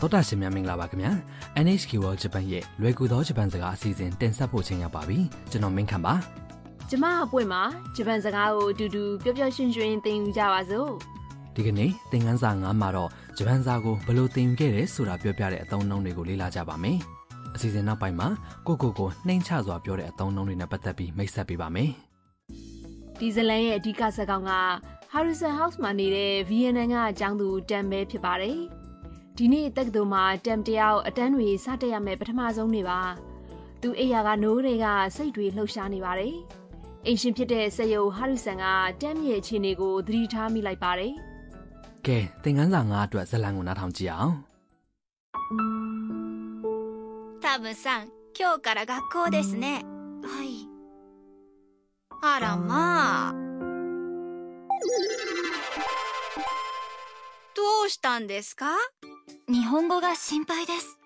တောတာရှင်များမင်္ဂလာပါခင်ဗျာ NHK World Japan ရဲ့လွယ်ကူသောဂျပန်စကားအစီအစဉ်တင်ဆက်ဖို့ချိန်ရောက်ပါပြီကျွန်တော်မင်းခမ်းပါ ကျမအပွင့်မှာဂျပန်စကားကိုအတူတူပျော်ပျော်ရွှင်ရွှင်သင်ယူကြပါစို့ ဒီကနေ့သင်ခန်းစာ9မှာတော့ဂျပန်စာကိုဘယ်လိုသင်ယူခဲ့တယ်ဆိုတာပြောပြတဲ့အသုံးအနှုန်းတွေကိုလေ့လာကြပါမယ်အစီအစဉ်နောက်ပိုင်းမှာကိုကိုကိုနှိမ့်ချစွာပြောတဲ့အသုံးအနှုန်းတွေနဲ့ပတ်သက်ပြီးမိတ်ဆက်ပေးပါမယ် ဒီဇလန်ရဲ့အဓိကဇာတ်ကောင်က Harrison House မှာနေတဲ့ VNN ကအကြောင်းသူတမ်ပဲဖြစ်ပါတယ်ဒီနေ့တက္ကသိုလ်မှာတမ်တရားကိုအတန်းတွေစတက်ရမယ်ပထမဆုံးနေ့ပါသူအိယာကနိုးတွေကစိတ်တွေလှုပ်ရှားနေပါတယ်အင်ရှင်ဖြစ်တဲ့ဆက်ယုံ Harrison ကတမ်ရဲ့အခြေအနေကိုသတိထားမိလိုက်ပါတယ် ကဲသင်ခန်းစာ9အတွက်ဇတ်လံကိုနားထောင်ကြည့်အောင် タブさん、今日から学校ですね。はい。あらまあ。どうしたんですか日本語が心配です。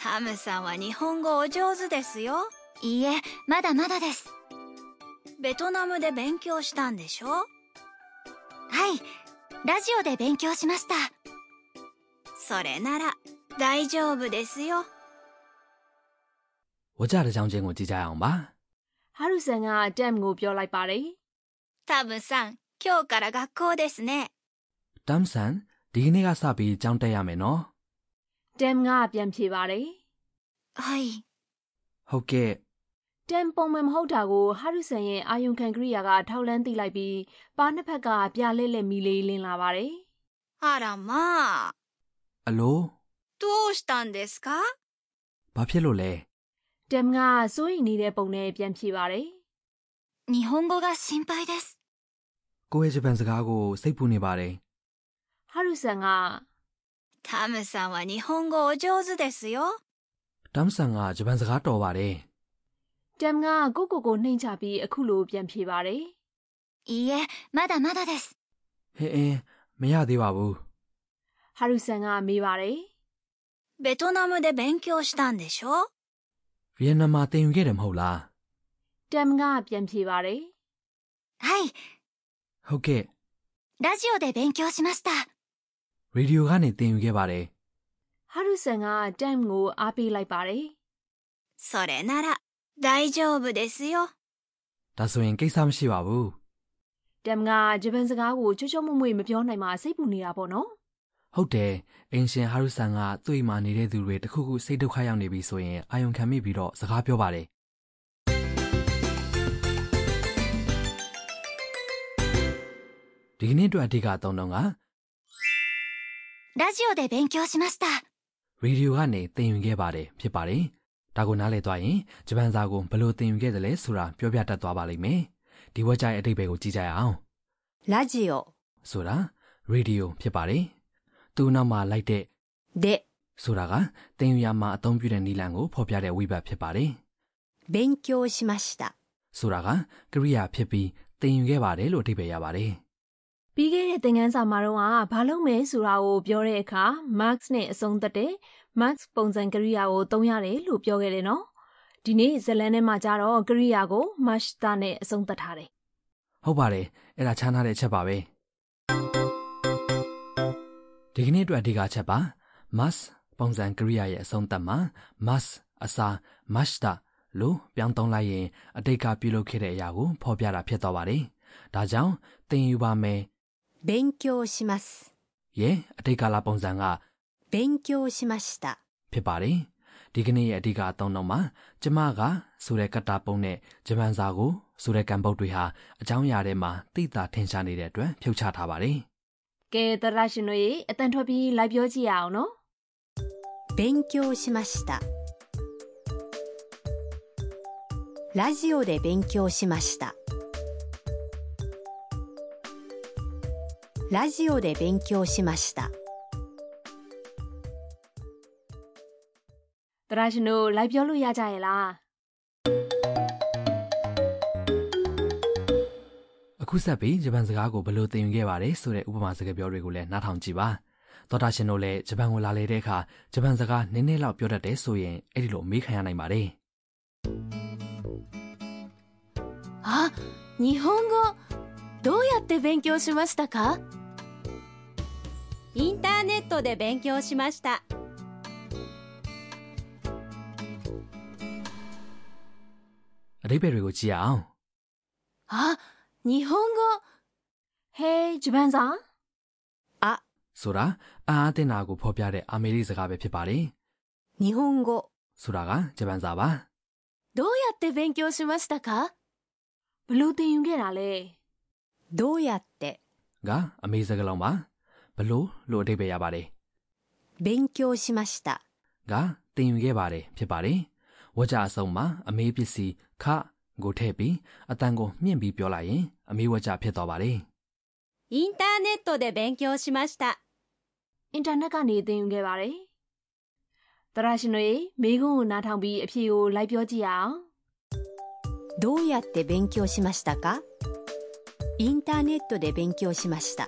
タムさんは日本語お上手ですよ。いいえ、まだまだです。ベトナムで勉強したんでしょはい、ラジオで勉強しました。それなら大丈夫ですよ。 ဝကြတစ်ကြောင်းချင်းကိုကြည့်ကြရအောင်ပါ Harrison ကတမ်ကိုပြောလိုက်ပါတယ် タブさん、今日から学校ですね。 တမ်ဆန်ဒီကနေ့ကစပြီးကြောင်းတက်ရမယ်နော် တမ်ကပြန်ဖြေပါတယ် はい。 ဟုတ်ကဲ့ တမ်ပုံမှန်မဟုတ်တာကိုဟာရုဆန်ရဲ့အာယုန်ခံကရိယာကထောက်လန်းသိလိုက်ပြီးပါနှစ်ဖက်ကပြလဲလဲမီလေးလင်းလာပါတယ် あらまあ。 အလို どうしたんですか ဘာဖြစ်လို့လဲ တမ်ကစိုးရိမ်နေတဲ့ပုံနဲ့ပြန်ဖြေပါတယ် 日本語が心配です。 ကိုယ့်ရဲ့ဂျပန်စကားကိုစိတ်ပူနေပါတယ် ဟာရုဆန်က タムさんは日本語お上手ですよ。 တမ်ဆန်ကဂျပန်စကားတော်ပါတယ် တမ်ကကိုကိုကိုနှိမ်ချပြီးအခုလိုပြန်ဖြေပါတယ် いいえ、まだまだです。 ဟင်းအင်းမရသေးပါဘူး ဟာရုဆန်ကမေးပါတယ် ベトナムで勉強したんでしょ ဗီယက်နမ်မှာသင်ယူခဲ့တယ်မဟုတ်လား တမ်ကပြန်ဖြေပါတယ် はい、 ဟုတ်ကဲ့ ラジオで勉強しました。 ရေဒီယိုကနေသင်ယူခဲ့ပါတယ် ဟာရုဆန်ကတမ်ကိုအားပေးလိုက်ပါတယ် それなら大丈夫ですよ。 ဒါဆိုရင်ကိစ္စမရှိပါဘူး တမ်ကဂျပန်စကားကိုချွတ်ချွတ်မွေ့မွေ့မပြောနိုင်မှစိတ်ပူနေတာပေါ့နော် ဟုတ်တယ်အင်ရှင်ဟာရုဆန်ကသူ့အိမ်မှာနေတဲ့သူတွေတစ်ခုခုစိတ်ဒုက္ခရောက်နေပြီဆိုရင်အာယုံခံမိပြီးတော့စကားပြောပါတယ်ဒီကနေ့အတွက်အဓိကအသုံးတော့က ラジオで勉強しました。 ရေဒီယိုကနေသင်ယူခဲ့ပါတယ်ဖြစ်ပါတယ်ဒါကိုနားလည်သွားရင်ဂျပန်စာကိုဘယ်လိုသင်ယူခဲ့သလဲဆိုတာပြောပြတတ်သွားပါလိမ့်မယ်ဒီဝက်ကြိုင်အတိတ်ပဲကိုကြည့်ကြရအောင် ラジオ ဆိုတာရေဒီယိုဖြစ်ပါတယ်။သူ့နောက်မှာလိုက်တဲ့ で ဆိုတာကသင်ယူရာမှာအသုံးပြုတဲ့နည်းလမ်းကိုဖော်ပြတဲ့ဝိဘတ်ဖြစ်ပါတယ် 勉強しました。 ။ဆိုတာကကရိယာဖြစ်ပြီးသင်ယူခဲ့ပါတယ်လို့အဓိပ္ပာယ်ရပါတယ် ပြီးခဲ့တဲ့သင်ခန်းစာမှာတော့ဘာလုပ်မယ်ဆိုတာကိုပြောတဲ့အခါ max နဲ့အဆုံးသတ်တဲ့ max ပုံစံကရိယာကိုသုံးရတယ်လို့ပြောခဲ့တယ်နော်ဒီနေ့ဇတ်လန်ထဲမှာကြတော့ကရိယာကို mash တာနဲ့အဆုံးသတ်ထားတယ် ။ဟုတ်ပါတယ်။အဲ့ဒါခြားနားတဲ့အချက်ပါပဲ။ဒီကနေ့အတွက်အဓိကအချက်ပါ mass ပုံစံကရိယာရဲ့အဆုံးသတ်မှာ mass အစား mashta လို့ပြောင်းသုံးလိုက်ရင်အတိတ်ကပြုလုပ်ခဲ့တဲ့အရာကိုဖော်ပြတာဖြစ်သွားပါတယ်။ဒါကြောင့်သင်ယူပါမယ် 勉強します。 ရဲ့အတိတ်ကာလပုံစံက 勉強しました。 ဖြစ်ပါတယ်။ဒီကနေ့ရဲ့အဓိကအသုံးတော့မှာကျမကဆိုတဲ့ကတ္တာပုံနဲ့ဂျပန်စာကိုဆိုတဲ့ကံပုတ်တွေဟာအကြောင်းအရာတွေမှာတိတာထင်ရှားနေတဲ့အတွက်ဖြုတ်ချထားပါတယ် ကဲသရရှင်တို့ရေအတန်ထွက်ပြီးလိုက်ပြောကြည့်ရအောင်နော် 勉強しました。ラジオで勉強しました。ラジオで勉強しました。 သရရှင်တို့လိုက်ပြောလို့ရကြရဲ့လား ။အခုဆက်ပြီးဂျပန်စကားကိုဘယ်လိုသင်ယူခဲ့ပါတယ်ဆိုတဲ့ဥပမာစကားပြောတွေကိုလည်းနားထောင်ကြည့်ပါ။သောတာရှင်တို့လည်းဂျပန်ကိုလာလေတဲ့အခါဂျပန်စကားနည်းနည်းလောက်ပြောတတ်တယ်ဆိုရင်အဲ့ဒီလိုအမေးခံရနိုင်ပါတယ် あ、日本語、どうやって勉強しましたかインターネットで勉強しました。 အတိပ္ပယ်တွေကိုကြည့်ရအောင် あ、日本語、 ဟဲဂျပန်စာ ဆိုတာအာအာတင်နာကိုဖော်ပြတဲ့အာမေရိစကားပဲဖြစ်ပါတယ် 日本語。 ဆိုတာကဂျပန်စာပါ どうやって勉強しましたか ဘယ်လို့သင်ယူခဲ့တာလဲ どうやって ကအမေစကားလုံးပါဘလို့လို့အတိပ္ပယ်ရပါတယ် 勉強しました。 ကတင်ယူခဲ့ပါတယ်ဖြစ်ပါတယ်ဝကြအဆုံးမှာအမေပစ္စည်းခကိုထည့်ပြီးအတန်ကိုမြင့်ပြီးပြောလိုက်ရင်အမေဝကြဖြစ်သွားပါတယ် インターネットで勉強しました。 အင်တာနက်ကနေသင်ယူခဲ့ပါတယ်တရာရှင်တို့ရေမိကုန်းကိုနားထောင်ပြီးအဖြေကိုလိုက်ပြောကြည့်ရအောင် どうやって勉強しましたかインターネットで勉強しました。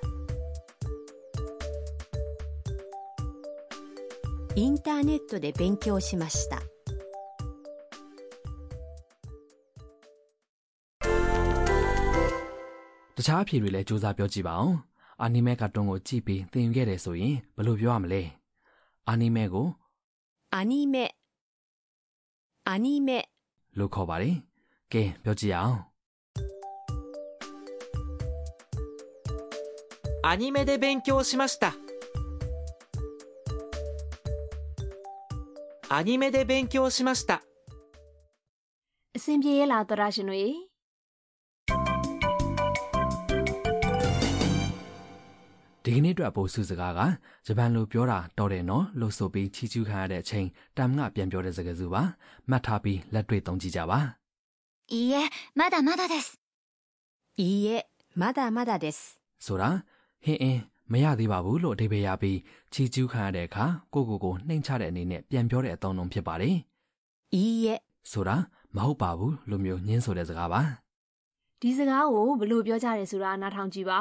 インターネットで勉強しました。 တခြားအဖြေတွေလည်းစူးစမ်းပြောကြည့်ပါအောင်အာနီမဲကာတွန်းကိုကြည့်ပြီးတင်ယူခဲ့တယ်ဆိုရင်ဘလို့ပြောရမလဲအာနီမဲကို アニメ、アニメ、 လို့ခေါ်ပါတယ်ကဲပြောကြည့်ရအောင် アニメで勉強しましたアニメで勉強しました အဆင်ပြေရဲ့လားတရာရှင်တို့ရေ ဒီကနေ့အတွက်ပို့စုစကားကဂျပန်လိုပြောတာတော်တယ်နော်လို့ဆိုပြီးချီးကျူးခံရတဲ့အချိန်တမ်ငါပြန်ပြောတဲ့စကားစုပါမှတ်ထားပြီးလက်တွေ့သုံးကြည့်ကြပါ いいえ、まだまだです。いいえ、まだまだです。 ဆိုတာဟင်းအင်းမရသေးပါဘူးလို့အဓိပ္ပာယ်ရပြီးချီကျူးခံရတဲ့အခါကိုယ့်ကိုယ်ကိုနှိမ်ချတဲ့အနေနဲ့ပြန်ပြောတဲ့အသုံးအနှုန်းဖြစ်ပါတယ် いいえ、 ။ဆိုတာမဟုတ်ပါဘူးလို့မျိုးညင်းဆိုတဲ့စကားပါ ဒီစကားကိုဘယ်လို့ပြောကြတယ်ဆိုတာနားထောင်ကြည့်ပါ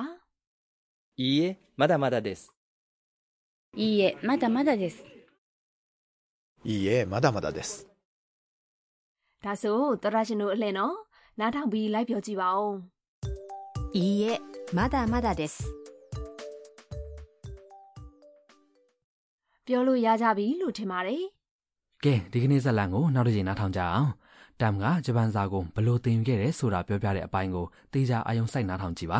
いいえまだまだですいいえ、まだまだです。いいえ、まだまだです。 ဒါဆိုတရာရှင်တို့အလှည့်နော်နားထောင်ပြီးလိုက်ပြောကြည့်ပါဦး いいえ、まだまだです。 ပြောလို့ရကြပြီလို့ထင်ပါတယ် ။ကဲဒီကနေ့ဇာတ်လမ်းကိုနောက်တစ်ချိန်နားထောင်ကြအောင်။တမ်ကဂျပန်စာကိုဘယ်လို့သင်ယူခဲ့တယ်ဆိုတာပြောပြတဲ့အပိုင်းကိုတေချာအာယုံစိုက်နားထောင်ကြည့်ပါ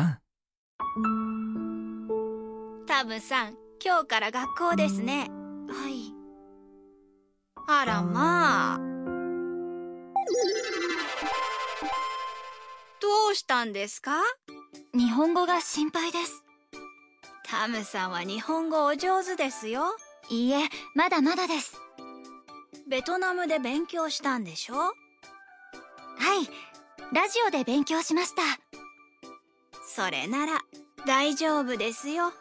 タムさん、今日から学校ですね。はい。あらまあ。どうしたんですか日本語が心配です。タムさんは日本語お上手ですよ。いいえ、まだまだです。ベトナムで勉強したんでしょはい。ラジオで勉強しました。それなら大丈夫ですよ。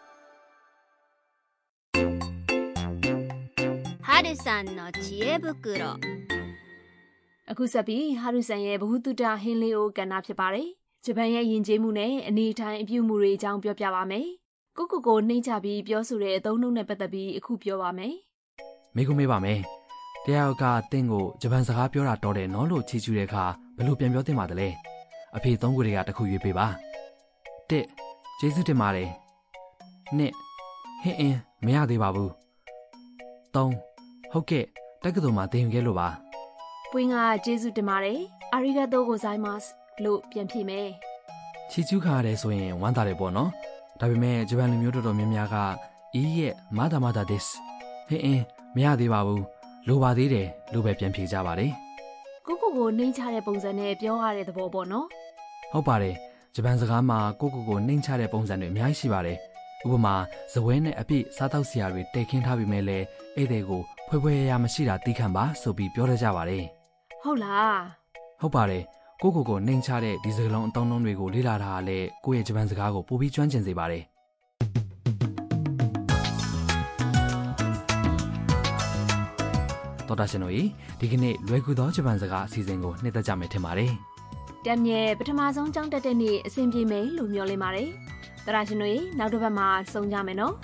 はるさんの知恵袋 အခုဆက်ပြီးဟာရုဆန်ရဲ့ဘ ഹു တုတဟင်းလေးကိုကဏ္ဍဖြစ်ပါတယ်ဂျပန်ရဲ့ယဉ်ကျေးမှုနဲ့အနေထိုင်အပြုအမူတွေအကြောင်းပြောပြပါမယ်ကိုကိုကိုနှိမ့်ချပြီးပြောဆိုတဲ့အသုံးအနှုန်းနဲ့ပတ်သက်ပြီးအခုပြောပါမယ် ။မိကုမေးပါမယ်။တရားကသင်ကိုဂျပန်စကားပြောတာတော်တယ်နော်လို့ချီကျူးတဲ့အခါဘယ်လို့ပြန်ပြောသင့်ပါသလဲ။အဖေသုံးခုတွေကတစ်ခုရွေးပေးပါ။တစ်ကျေးဇူးတင်ပါတယ်။နှစ်ဟင်းအင်းမရသေးပါဘူး။သုံးဟုတ်ကဲ့တက္ကသိုလ်မှာသင်ယူခဲ့လို့ပါ ပွင့်ကကျေးဇူးတင်ပါတယ်အာရီဂါတိုကိုဇိုင်းမတ်စ်လို့ပြန်ဖြေမယ် ။ချီကျူးခံရတယ်ဆိုရင်ဝမ်းသာတယ်ပေါ့နော်။ဒါပေမဲ့ဂျပန်လူမျိုးတော်တော်များများကအီးရဲ့မာတာမာတာ this ဟင်းအင်းမရသေးပါဘူး။လိုပါသေးတယ်လို့ပဲပြန်ဖြေကြပါလေ။ ကိုကိုကိုနှိမ့်ချတဲ့ပုံစံနဲ့ပြောရတဲ့သဘောပေါ့နော် ဟုတ်ပါတယ်ဂျပန်စကားမှာကိုယ့်ကိုယ်ကိုနှိမ်ချတဲ့ပုံစံတွေအများကြီးရှိပါတယ်ဥပမာဇပွဲနဲ့အပြည့်စားတောက်စရာတွေတိတ်ခင်းထားပြီးမဲ့လဲဧည့်သည်ကိုဖွဲဖွဲရရမရှိတာတီးခံပါဆိုပြီးပြောရကြပါတယ် ဟုတ်လား ဟုတ်ပါတယ်ကိုယ့်ကိုယ်ကိုနှိမ်ချတဲ့ဒီစကားလုံးအသုံးအနှုန်းတွေကိုလေ့လာတာကလည်းကိုယ့်ရဲ့ဂျပန်စကားကိုပိုပြီးကျွမ်းကျင်စေပါတယ်တော်တာရှင်တို့ရေဒီကနေ့လွယ်ကူသောဂျပန်စကားအစီအစဉ်ကိုနှိမ့်သက်ကြမယ်ထင်ပါတယ် တက်မြဲပထမဆုံးကြောင်းတက်တဲ့နေ့အဆင်ပြေမယ်လို့မျှော်လင့်ပါတယ်တရာရှင်တို့ရေနောက်တစ်ပတ်မှာဆုံကြမယ်နော်